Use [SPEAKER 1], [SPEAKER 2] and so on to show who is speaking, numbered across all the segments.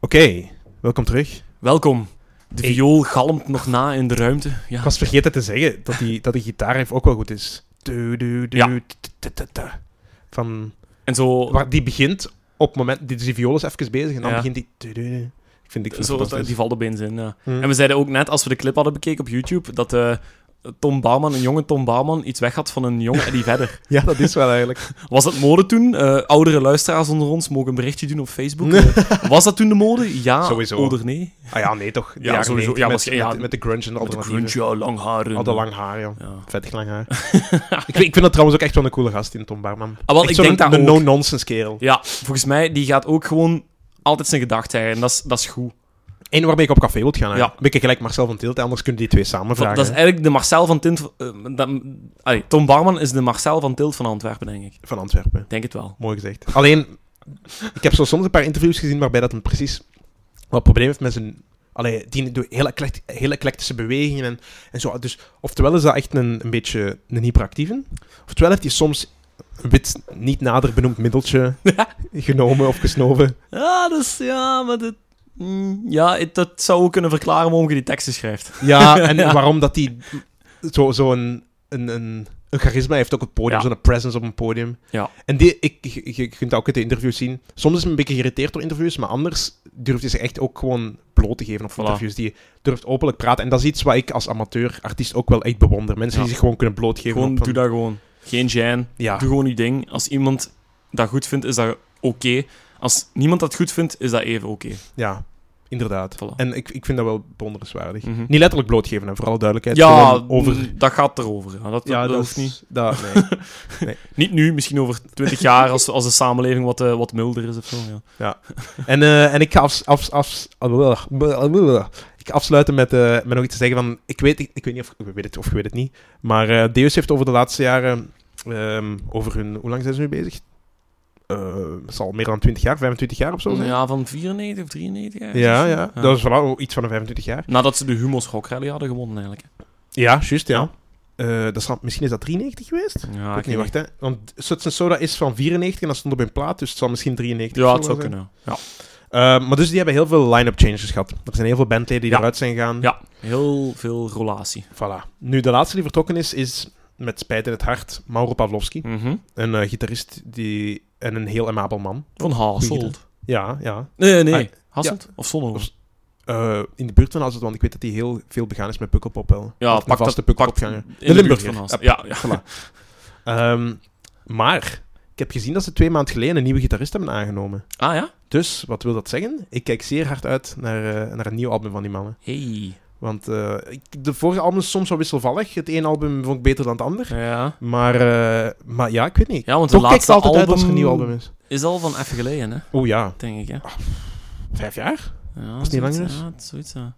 [SPEAKER 1] Oké, welkom terug.
[SPEAKER 2] Welkom. De
[SPEAKER 1] Hey.
[SPEAKER 2] viool galmt nog na in de ruimte. Ja.
[SPEAKER 1] Ik was vergeten te zeggen dat die, dat die gitaarriff ook wel goed is. Du, du, du,
[SPEAKER 2] Ja.
[SPEAKER 1] t- t- t- t- Van,
[SPEAKER 2] En zo,
[SPEAKER 1] waar die begint op het moment... Die, dus die viool is even bezig en dan
[SPEAKER 2] Ja.
[SPEAKER 1] begint die... du, du, du. Ik vind, ik vind
[SPEAKER 2] zo
[SPEAKER 1] het
[SPEAKER 2] dat, die
[SPEAKER 1] fantastisch.
[SPEAKER 2] valt opeens in. Ja.
[SPEAKER 1] Hm.
[SPEAKER 2] En we zeiden ook net, als we de clip hadden bekeken op YouTube, dat eh, Tom Bouwman, een jonge Tom Bouwman, iets weg had van een jonge Eddie Vedder.
[SPEAKER 1] Ja, dat is wel eigenlijk.
[SPEAKER 2] Was dat mode toen? Eh, oudere luisteraars onder ons mogen een berichtje doen op Facebook. Eh, was dat toen de mode? Ja,
[SPEAKER 1] Sowieso.
[SPEAKER 2] oder nee?
[SPEAKER 1] Ah ja, nee toch. De
[SPEAKER 2] Ja,
[SPEAKER 1] jaren
[SPEAKER 2] sowieso.
[SPEAKER 1] 90
[SPEAKER 2] Ja,
[SPEAKER 1] met,
[SPEAKER 2] waarsch- ja,
[SPEAKER 1] met, met de grunge en de
[SPEAKER 2] Met de
[SPEAKER 1] alternatieven.
[SPEAKER 2] grunge, ja, lang haar. en-
[SPEAKER 1] Al dat lang haar, joh.
[SPEAKER 2] Ja.
[SPEAKER 1] Vettig lang haar. ik, vind- ik vind dat trouwens ook echt wel een coole gast in Tom Barman.
[SPEAKER 2] Ah, wel,
[SPEAKER 1] echt
[SPEAKER 2] ik
[SPEAKER 1] zo'n
[SPEAKER 2] denk dat
[SPEAKER 1] een
[SPEAKER 2] ook.
[SPEAKER 1] no-nonsense kerel.
[SPEAKER 2] ja, volgens mij, die gaat ook gewoon altijd zijn gedachten hebben. En dat is- dat is goed.
[SPEAKER 1] Eén waarmee ik op café wilt gaan. hè.
[SPEAKER 2] Ja.
[SPEAKER 1] Een beetje gelijk Marcel van Tilt, anders kunnen die twee samen vragen.
[SPEAKER 2] Dat is
[SPEAKER 1] hè.
[SPEAKER 2] eigenlijk de Marcel van Tilt... eh, dat- allee, Tom Barman is de Marcel van Tilt van Antwerpen, denk ik.
[SPEAKER 1] Van Antwerpen.
[SPEAKER 2] Ik Denk het wel.
[SPEAKER 1] Mooi gezegd. Alleen, ik heb zo soms een paar interviews gezien waarbij dat een precies wat probleem heeft met zijn... Allee, die doet heel, eclect, heel eclectische bewegingen en, en zo. Dus oftewel is dat echt een, een beetje een hyperactieve. Oftewel heeft hij soms een wit, niet nader benoemd middeltje genomen of gesnoven.
[SPEAKER 2] Ja, dus ja, maar dit... mm, ja, het- dat zou ook kunnen verklaren waarom je die teksten schrijft.
[SPEAKER 1] Ja, en waarom dat hij zo'n zo een, een, een, een charisma heeft op het podium,
[SPEAKER 2] Ja.
[SPEAKER 1] zo'n presence op een podium.
[SPEAKER 2] Ja.
[SPEAKER 1] En die, ik, je, je kunt dat ook in de interviews zien. Soms is hij een beetje geïrriteerd door interviews, maar anders durft hij zich echt ook gewoon bloot te geven op
[SPEAKER 2] Voilà.
[SPEAKER 1] interviews. Die durft openlijk praten. En dat is iets wat ik als amateur, artiest ook wel echt bewonder. Mensen
[SPEAKER 2] Ja.
[SPEAKER 1] die zich gewoon kunnen blootgeven.
[SPEAKER 2] Gewoon,
[SPEAKER 1] op een-
[SPEAKER 2] doe dat gewoon. Geen jijn.
[SPEAKER 1] Ja.
[SPEAKER 2] Doe gewoon je ding. Als iemand dat goed vindt, is dat oké. Als niemand dat goed vindt, is dat even oké.
[SPEAKER 1] ja, inderdaad.
[SPEAKER 2] Voilà.
[SPEAKER 1] En ik, ik vind dat wel bewonderenswaardig.
[SPEAKER 2] Mhm.
[SPEAKER 1] Niet letterlijk blootgeven, hè, vooral duidelijkheid.
[SPEAKER 2] Ja,
[SPEAKER 1] Gewoon over...
[SPEAKER 2] mm, dat gaat erover. Ja, Dat, dat,
[SPEAKER 1] Ja,
[SPEAKER 2] dat
[SPEAKER 1] dat
[SPEAKER 2] hoeft
[SPEAKER 1] is-
[SPEAKER 2] niet.
[SPEAKER 1] Dat, nee.
[SPEAKER 2] Niet nu, misschien over twintig jaar, als, als de samenleving wat, eh, wat milder is of zo. Ja.
[SPEAKER 1] En, eh, en ik ga afs, afs, afs, ah, ik ga afsluiten met, eh, met nog iets te zeggen van... Ik weet, ik, weet niet of... Ik weet het of ik weet het niet. Maar eh, Deus heeft over de laatste jaren... ehm, over hun... Hoe lang zijn ze nu bezig? Eh, het zal meer dan 20 jaar, 25 jaar of zo zijn.
[SPEAKER 2] ja, van 94 of 93 ergens
[SPEAKER 1] ja.
[SPEAKER 2] of zo.
[SPEAKER 1] ja. Dat is vooral iets van de 25 jaar.
[SPEAKER 2] Nadat ze de Humo's Rock Rally hadden gewonnen, eigenlijk.
[SPEAKER 1] Ja, juist, ja. Eh, dat zal- misschien is dat 93 geweest?
[SPEAKER 2] Ja,
[SPEAKER 1] ik weet niet, wacht hè. Want Suts Soda is van 94 en dat stond op hun plaat, dus het zal misschien 93
[SPEAKER 2] Ja,
[SPEAKER 1] of
[SPEAKER 2] het
[SPEAKER 1] zo
[SPEAKER 2] zou
[SPEAKER 1] zijn.
[SPEAKER 2] kunnen. Ja.
[SPEAKER 1] Eh, maar dus die hebben heel veel line-up changes gehad. Er zijn heel veel bandleden die
[SPEAKER 2] Ja.
[SPEAKER 1] eruit zijn gegaan.
[SPEAKER 2] ja, heel veel relatie.
[SPEAKER 1] Voilà. Nu, de laatste die vertrokken is, is met spijt in het hart Mauro Pavlovski.
[SPEAKER 2] Hm. Mhm.
[SPEAKER 1] Een eh, gitarist die, en een heel amabel man.
[SPEAKER 2] Van
[SPEAKER 1] Goeie
[SPEAKER 2] Hasselt.
[SPEAKER 1] Ja, ja.
[SPEAKER 2] Nee,
[SPEAKER 1] Ah,
[SPEAKER 2] nee. Hasselt? Of Zonnehoven?
[SPEAKER 1] Eh, in de buurt van Hasselt, want ik weet dat hij heel veel begaan is met Pukkelpop wel.
[SPEAKER 2] Ja,
[SPEAKER 1] Of een
[SPEAKER 2] pak
[SPEAKER 1] vaste
[SPEAKER 2] dat. Pak
[SPEAKER 1] Pukkelpopganger.
[SPEAKER 2] in de buurt
[SPEAKER 1] Limburger.
[SPEAKER 2] van Hasselt. Ja, ja.
[SPEAKER 1] Ehm, maar, ik heb gezien dat ze twee maanden geleden een nieuwe gitarist hebben aangenomen.
[SPEAKER 2] Ah ja?
[SPEAKER 1] Dus, wat wil dat zeggen? Ik kijk zeer hard uit naar, eh, naar een nieuw album van die mannen.
[SPEAKER 2] Hey.
[SPEAKER 1] Want eh, ik- de vorige album is soms wel wisselvallig. Het ene album vond ik beter dan het ander.
[SPEAKER 2] Ja.
[SPEAKER 1] Maar, eh, maar ja, ik weet niet.
[SPEAKER 2] Ja, want de
[SPEAKER 1] Toch kijkt
[SPEAKER 2] laatste
[SPEAKER 1] altijd
[SPEAKER 2] album,
[SPEAKER 1] uit als er een nieuw album is.
[SPEAKER 2] is al van even geleden, hè?
[SPEAKER 1] Oh ja,
[SPEAKER 2] Denk ik, hè?
[SPEAKER 1] vijf jaar?
[SPEAKER 2] Ja,
[SPEAKER 1] het niet
[SPEAKER 2] zoiets,
[SPEAKER 1] langer is?
[SPEAKER 2] Ja, het is zoiets, ja.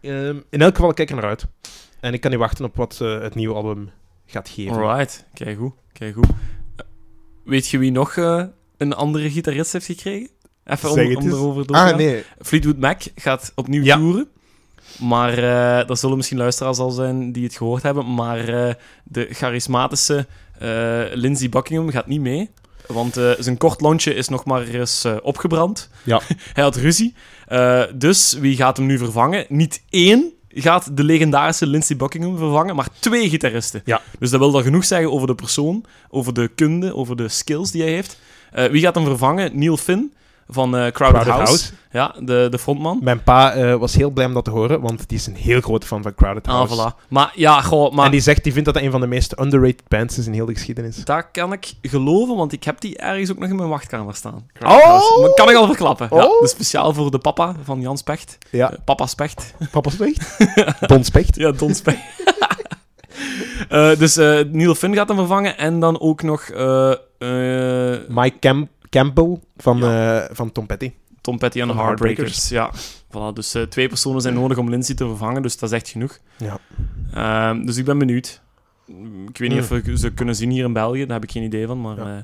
[SPEAKER 1] Ehm, in elk geval, ik kijk er naar uit. En ik kan niet wachten op wat eh, het nieuwe album gaat geven.
[SPEAKER 2] Alright. Kijk goed. Kijk goed. Weet je wie nog eh, een andere gitarist heeft gekregen? Even
[SPEAKER 1] Zeg
[SPEAKER 2] om,
[SPEAKER 1] het
[SPEAKER 2] om
[SPEAKER 1] eens.
[SPEAKER 2] erover door te
[SPEAKER 1] Ah,
[SPEAKER 2] gaan.
[SPEAKER 1] nee.
[SPEAKER 2] Fleetwood Mac gaat opnieuw
[SPEAKER 1] Ja.
[SPEAKER 2] toeren. Maar eh er zullen misschien luisteraars al zijn die het gehoord hebben. Maar eh, de charismatische eh, Lindsey Buckingham gaat niet mee. Want eh, zijn kort lontje is nog maar eens eh, opgebrand.
[SPEAKER 1] Ja.
[SPEAKER 2] Hij had ruzie. Eh, dus wie gaat hem nu vervangen? Niet één gaat de legendarische Lindsey Buckingham vervangen, maar twee gitaristen.
[SPEAKER 1] Ja.
[SPEAKER 2] Dus dat wil dan genoeg zeggen over de persoon, over de kunde, over de skills die hij heeft. Eh, wie gaat hem vervangen? Neil Finn van eh Crowded,
[SPEAKER 1] Crowded
[SPEAKER 2] House.
[SPEAKER 1] House.
[SPEAKER 2] Ja, de, de frontman.
[SPEAKER 1] Mijn pa eh, was heel blij om dat te horen, want die is een heel grote fan van Crowded
[SPEAKER 2] Ah,
[SPEAKER 1] House.
[SPEAKER 2] voilà. Maar ja, goh, maar
[SPEAKER 1] En die zegt, die vindt dat dat een van de meest underrated bands is in heel de geschiedenis.
[SPEAKER 2] daar kan ik geloven, want ik heb die ergens ook nog in mijn wachtkamer staan.
[SPEAKER 1] Oh!
[SPEAKER 2] Dat kan ik al verklappen. Ja,
[SPEAKER 1] Oh!
[SPEAKER 2] dus speciaal voor de papa van Jan Specht.
[SPEAKER 1] Ja,
[SPEAKER 2] Eh, papa Specht.
[SPEAKER 1] papa Specht. Don Specht.
[SPEAKER 2] Ja, Don Specht. Eh, dus eh, Neil Finn gaat hem vervangen en dan ook nog eh, eh,
[SPEAKER 1] Mike Cam- Campbell van, eh, van Tom Petty.
[SPEAKER 2] Tom Petty en de
[SPEAKER 1] Van de
[SPEAKER 2] Heartbreakers. Ja, voilà. Dus eh, twee personen zijn nodig om Lindsay te vervangen, dus dat is echt genoeg.
[SPEAKER 1] Ja.
[SPEAKER 2] Ehm, dus ik ben benieuwd. Ik weet niet
[SPEAKER 1] Hmm.
[SPEAKER 2] of we ze kunnen zien hier in België, daar heb ik geen idee van, maar...
[SPEAKER 1] Ja.
[SPEAKER 2] eh,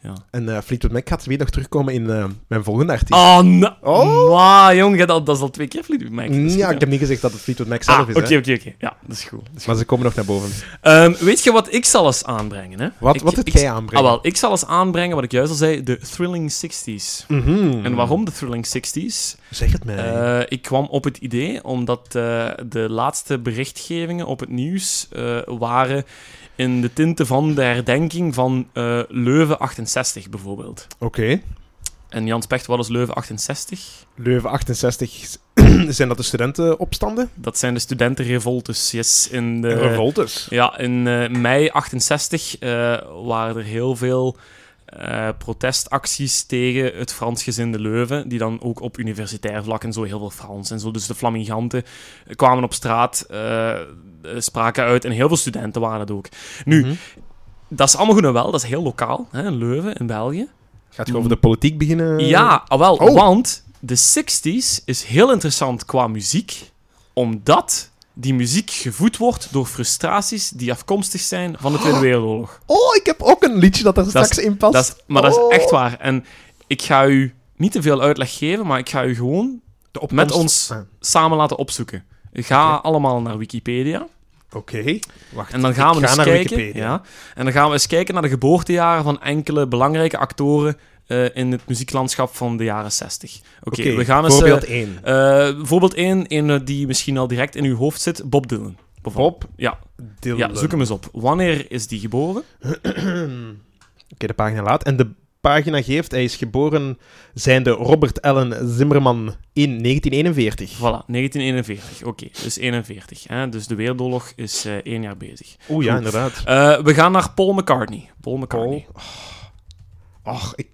[SPEAKER 2] Ja.
[SPEAKER 1] En eh, Fleetwood Mac gaat weer nog terugkomen in eh, mijn volgende artiest.
[SPEAKER 2] Oh, na-
[SPEAKER 1] Oh.
[SPEAKER 2] Ma, jong, jij dat, dat is al twee keer Fleetwood Mac. Dat is goed,
[SPEAKER 1] ja,
[SPEAKER 2] hè?
[SPEAKER 1] ik heb niet gezegd dat het Fleetwood Mac zelf
[SPEAKER 2] Ah,
[SPEAKER 1] is.
[SPEAKER 2] oké,
[SPEAKER 1] hè.
[SPEAKER 2] oké, oké. Ja, dat is goed. Dat is goed.
[SPEAKER 1] Maar ze komen nog naar boven.
[SPEAKER 2] Ehm, weet je wat ik zal eens aanbrengen, hè?
[SPEAKER 1] Wat,
[SPEAKER 2] Ik-
[SPEAKER 1] wat heb
[SPEAKER 2] ik-
[SPEAKER 1] jij aanbrengen?
[SPEAKER 2] Ah, wel, ik zal eens aanbrengen wat ik juist al zei, de Thrilling 60s.
[SPEAKER 1] Mhm.
[SPEAKER 2] En waarom de Thrilling 60s?
[SPEAKER 1] Zeg het mij.
[SPEAKER 2] Eh, ik kwam op het idee omdat eh, de laatste berichtgevingen op het nieuws eh, waren in de tinten van de herdenking van eh, Leuven 68 bijvoorbeeld.
[SPEAKER 1] Oké.
[SPEAKER 2] En Jan Specht, wat is Leuven 68?
[SPEAKER 1] Leuven 68, zijn dat de studentenopstanden?
[SPEAKER 2] Dat zijn de studentenrevoltes. Yes, in de,
[SPEAKER 1] Revoltes.
[SPEAKER 2] Ja, in eh, mei 68 eh, waren er heel veel eh, protestacties tegen het Fransgezinde Leuven, die dan ook op universitair vlak en zo heel veel Frans en zo. Dus de flaminganten kwamen op straat, eh, spraken uit en heel veel studenten waren het ook. Nu,
[SPEAKER 1] Mhm.
[SPEAKER 2] dat is allemaal goed en wel, dat is heel lokaal, hè, in Leuven, in België.
[SPEAKER 1] Gaat je over de politiek beginnen?
[SPEAKER 2] Ja, ah, wel,
[SPEAKER 1] oh.
[SPEAKER 2] want de 60s is heel interessant qua muziek, omdat die muziek gevoed wordt door frustraties die afkomstig zijn van de Tweede Wereldoorlog.
[SPEAKER 1] Oh, ik heb ook een liedje dat er
[SPEAKER 2] is-
[SPEAKER 1] straks in past.
[SPEAKER 2] Dat is, maar dat
[SPEAKER 1] Oh.
[SPEAKER 2] is echt waar. En ik ga u niet te veel uitleg geven, maar ik ga u gewoon
[SPEAKER 1] De opkomst-
[SPEAKER 2] met ons
[SPEAKER 1] Ah,
[SPEAKER 2] samen laten opzoeken. Ga
[SPEAKER 1] Oké.
[SPEAKER 2] allemaal naar Wikipedia
[SPEAKER 1] Oké. Wacht.
[SPEAKER 2] en dan gaan we
[SPEAKER 1] ik ga
[SPEAKER 2] eens
[SPEAKER 1] naar
[SPEAKER 2] kijken.
[SPEAKER 1] Wikipedia.
[SPEAKER 2] Ja, en dan gaan we eens kijken naar de geboortejaren van enkele belangrijke actoren eh, in het muzieklandschap van de jaren 60. Oké, we gaan eens. eh,
[SPEAKER 1] Voorbeeld 1.
[SPEAKER 2] eh, voorbeeld 1, een die misschien al direct in uw hoofd zit, Bob Dylan. bijvoorbeeld.
[SPEAKER 1] Bob
[SPEAKER 2] Ja,
[SPEAKER 1] Dylan.
[SPEAKER 2] ja, zoek hem eens op. Wanneer is die geboren?
[SPEAKER 1] Oké, de pagina laat. En de pagina geeft, hij is geboren zijnde Robert Allen Zimmerman in 1941.
[SPEAKER 2] Voilà, 1941. Oké, dus 41. Hè? Dus de Wereldoorlog is eh, één jaar bezig.
[SPEAKER 1] Oeh, ja, inderdaad.
[SPEAKER 2] Eh, we gaan naar Paul McCartney. Paul McCartney.
[SPEAKER 1] Paul. Ach, ik...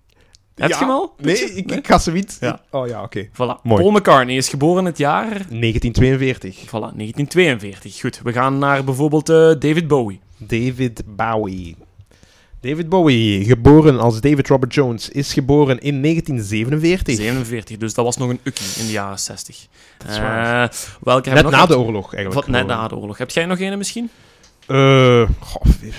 [SPEAKER 2] Heb je
[SPEAKER 1] Ja.
[SPEAKER 2] hem al?
[SPEAKER 1] Nee, ik, ik ga ze niet.
[SPEAKER 2] Ja.
[SPEAKER 1] ik- Oh ja, oké.
[SPEAKER 2] Voilà.
[SPEAKER 1] Mooi.
[SPEAKER 2] Paul McCartney is geboren in het jaar...
[SPEAKER 1] 1942.
[SPEAKER 2] Voilà, 1942. Goed, we gaan naar bijvoorbeeld eh, David Bowie.
[SPEAKER 1] David Bowie. David Bowie, geboren als David Robert Jones, is geboren in 1947.
[SPEAKER 2] 47, dus dat was nog een ukkie in de jaren 60.
[SPEAKER 1] Dat is waar.
[SPEAKER 2] Eh, welke hebben
[SPEAKER 1] Net
[SPEAKER 2] we
[SPEAKER 1] na
[SPEAKER 2] nog?
[SPEAKER 1] de oorlog, eigenlijk.
[SPEAKER 2] Wat, net na de oorlog. Heb jij nog een misschien?
[SPEAKER 1] Eh, goh, weer.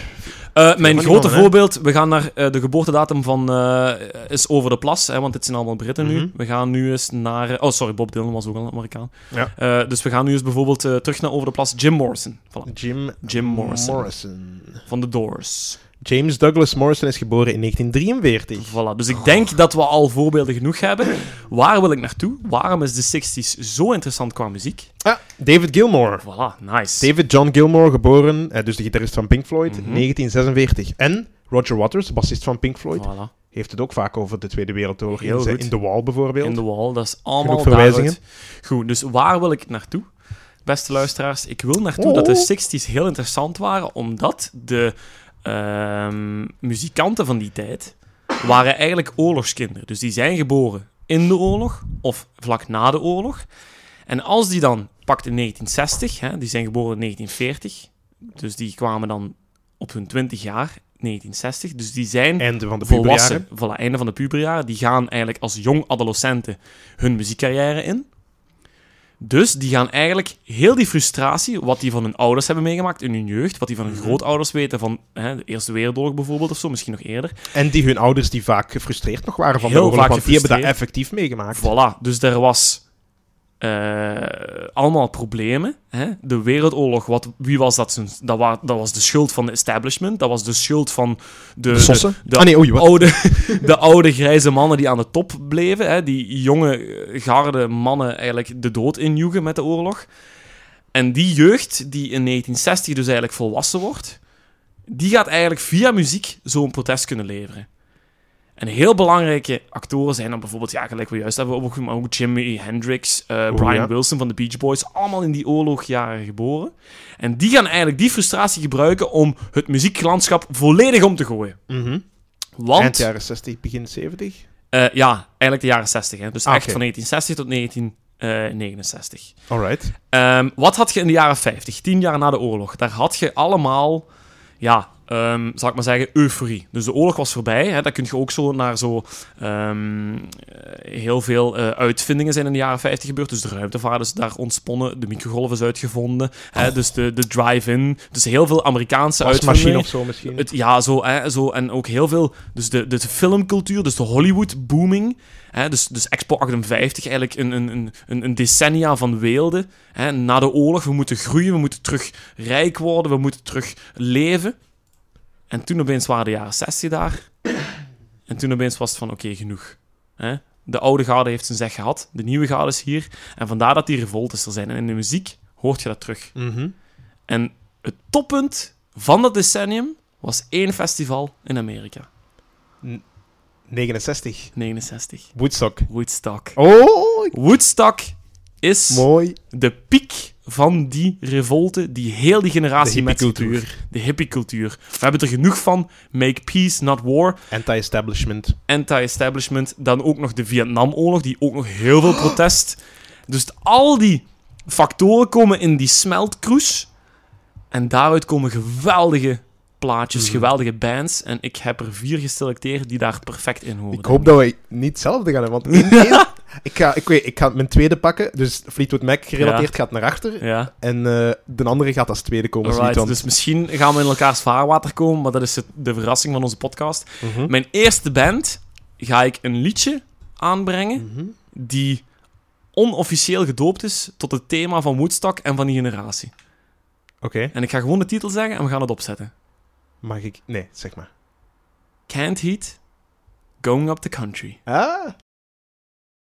[SPEAKER 2] Eh, mijn
[SPEAKER 1] niemand,
[SPEAKER 2] grote
[SPEAKER 1] hè?
[SPEAKER 2] voorbeeld, we gaan naar eh, de geboortedatum van eh, is over de plas, hè, want dit zijn allemaal Britten
[SPEAKER 1] Mhm.
[SPEAKER 2] nu. We gaan nu eens naar... eh, oh, sorry, Bob Dylan was ook al een Amerikaan.
[SPEAKER 1] Ja.
[SPEAKER 2] Eh, dus we gaan nu eens bijvoorbeeld eh, terug naar over de plas Jim Morrison. Voilà.
[SPEAKER 1] Jim
[SPEAKER 2] Jim Morrison.
[SPEAKER 1] Morrison.
[SPEAKER 2] Van The Doors.
[SPEAKER 1] James Douglas Morrison is geboren in 1943.
[SPEAKER 2] Voilà. Dus
[SPEAKER 1] Oh.
[SPEAKER 2] ik denk dat we al voorbeelden genoeg hebben. Waar wil ik naartoe? Waarom is de 60s zo interessant qua muziek?
[SPEAKER 1] Ah, David Gilmore.
[SPEAKER 2] Voilà, nice.
[SPEAKER 1] David John Gilmore, geboren, eh, dus de gitarist van Pink Floyd,
[SPEAKER 2] Mhm.
[SPEAKER 1] 1946. En Roger Waters, bassist van Pink Floyd,
[SPEAKER 2] Voilà.
[SPEAKER 1] heeft het ook vaak over de Tweede Wereldoorlog.
[SPEAKER 2] Heel
[SPEAKER 1] In, zijn-
[SPEAKER 2] goed.
[SPEAKER 1] in The Wall bijvoorbeeld.
[SPEAKER 2] In the Wall, dat is allemaal
[SPEAKER 1] Genoeg verwijzingen.
[SPEAKER 2] daaruit. Goed, dus waar wil ik naartoe? Beste luisteraars, ik wil naartoe dat
[SPEAKER 1] Oh.
[SPEAKER 2] de 60s heel interessant waren, omdat de ehm, muzikanten van die tijd waren eigenlijk oorlogskinderen. Dus die zijn geboren in de oorlog of vlak na de oorlog. En als die dan pakt in 1960, hè, die zijn geboren in 1940, dus die kwamen dan op hun 20 jaar, 1960, dus die zijn
[SPEAKER 1] Einde van de puberjaren.
[SPEAKER 2] volwassen, voilà, einde van de puberjaren, die gaan eigenlijk als jong adolescenten hun muziekcarrière in. Dus die gaan eigenlijk heel die frustratie, wat die van hun ouders hebben meegemaakt in hun jeugd, wat die van hun
[SPEAKER 1] Mhm.
[SPEAKER 2] grootouders weten, van hè, de Eerste Wereldoorlog bijvoorbeeld of zo, misschien nog eerder.
[SPEAKER 1] En die hun ouders die vaak gefrustreerd nog waren van
[SPEAKER 2] Heel
[SPEAKER 1] de oorlog,
[SPEAKER 2] vaak
[SPEAKER 1] want die hebben dat
[SPEAKER 2] gefrustreerd.
[SPEAKER 1] effectief meegemaakt.
[SPEAKER 2] Voilà, dus er was eh, allemaal problemen. Hè? De Wereldoorlog, wat, wie was dat? zijn- Dat, wa- dat was de schuld van de establishment, dat was de schuld van de,
[SPEAKER 1] de sossen?
[SPEAKER 2] de-
[SPEAKER 1] ah nee, oei, wat?
[SPEAKER 2] oude, de oude grijze mannen die aan de top bleven. Hè, die jonge, eh, garde mannen eigenlijk de dood injoegen met de oorlog. En die jeugd, die in 1960 dus eigenlijk volwassen wordt, die gaat eigenlijk via muziek zo'n protest kunnen leveren. En heel belangrijke actoren zijn dan bijvoorbeeld, ja, gelijk we juist hebben, ook- maar ook Jimi Hendrix, eh,
[SPEAKER 1] Oeh,
[SPEAKER 2] Brian
[SPEAKER 1] Oh, ja.
[SPEAKER 2] Wilson van de Beach Boys, allemaal in die oorlogjaren geboren. En die gaan eigenlijk die frustratie gebruiken om het muzieklandschap volledig om te gooien.
[SPEAKER 1] Mhm. Eind
[SPEAKER 2] Want,
[SPEAKER 1] jaren 60, begin 70.
[SPEAKER 2] eh, ja, eigenlijk de jaren 60. Hè? Dus
[SPEAKER 1] Ah,
[SPEAKER 2] echt
[SPEAKER 1] oké.
[SPEAKER 2] van 1960 tot eh, 1969.
[SPEAKER 1] Alright.
[SPEAKER 2] Ehm, wat had je in de jaren 50, tien jaar na de oorlog? Daar had je allemaal ja, eh, ehm zal ik maar zeggen, euforie. Dus de oorlog was voorbij. Hè. Dat kun je ook zo naar zo... ehm, eh, heel veel eh, uitvindingen zijn in de jaren 50 gebeurd. Dus de ruimtevaart is daar ontsponnen. De microgolf is uitgevonden. Hè. Dus de, de drive-in. Dus heel veel Amerikaanse
[SPEAKER 1] Oh. Wasmachine
[SPEAKER 2] uitvindingen.
[SPEAKER 1] of zo misschien.
[SPEAKER 2] Het, ja, zo, hè, zo. En ook heel veel. Dus de, de filmcultuur, dus de Hollywood-booming. Hè, dus, dus Expo 58, eigenlijk een, een, een- een, een decennia van weelde. Hè, na de oorlog, we moeten groeien, we moeten terug rijk worden, we moeten terug leven. En toen opeens waren de jaren 60 daar. En toen opeens was het van: oké, genoeg. Hè. De oude garde heeft zijn zeg gehad, de nieuwe garde is hier. En vandaar dat die revoltes er zijn. En in de muziek hoort je dat terug.
[SPEAKER 1] Mhm.
[SPEAKER 2] En het toppunt van dat decennium was één festival in Amerika.
[SPEAKER 1] 69.
[SPEAKER 2] 69.
[SPEAKER 1] Woodstock.
[SPEAKER 2] Woodstock.
[SPEAKER 1] Oh,
[SPEAKER 2] Woodstock is
[SPEAKER 1] mooi.
[SPEAKER 2] de piek van die revolte die heel die generatie
[SPEAKER 1] De
[SPEAKER 2] met zich
[SPEAKER 1] hippiecultuur.
[SPEAKER 2] droeg. De hippiecultuur. We hebben er genoeg van. Make peace, not war.
[SPEAKER 1] Anti-establishment.
[SPEAKER 2] Anti-establishment. Dan ook nog de Vietnamoorlog, die ook nog heel veel protest. Dus al die factoren komen in die smeltkroes. En daaruit komen geweldige plaatjes,
[SPEAKER 1] Mhm.
[SPEAKER 2] geweldige bands. En ik heb er vier geselecteerd die daar perfect in horen.
[SPEAKER 1] Ik hoop dat wij niet hetzelfde gaan hebben, want in één- ik, ga, ik, weet, ik ga mijn tweede pakken, dus Fleetwood Mac gerelateerd gaat naar achter,
[SPEAKER 2] Ja,
[SPEAKER 1] en eh, de andere gaat als tweede komen. als
[SPEAKER 2] alright.
[SPEAKER 1] niet, want-
[SPEAKER 2] Dus misschien gaan we in elkaars vaarwater komen, maar dat is het- de verrassing van onze podcast.
[SPEAKER 1] Mhm.
[SPEAKER 2] Mijn eerste band ga ik een liedje aanbrengen
[SPEAKER 1] Mhm.
[SPEAKER 2] die onofficieel gedoopt is tot het thema van Woodstock en van die generatie.
[SPEAKER 1] Oké,
[SPEAKER 2] En ik ga gewoon de titel zeggen en we gaan het opzetten.
[SPEAKER 1] mag ik... Nee, zeg maar.
[SPEAKER 2] Can't Heat, Going Up the Country.
[SPEAKER 1] Ah,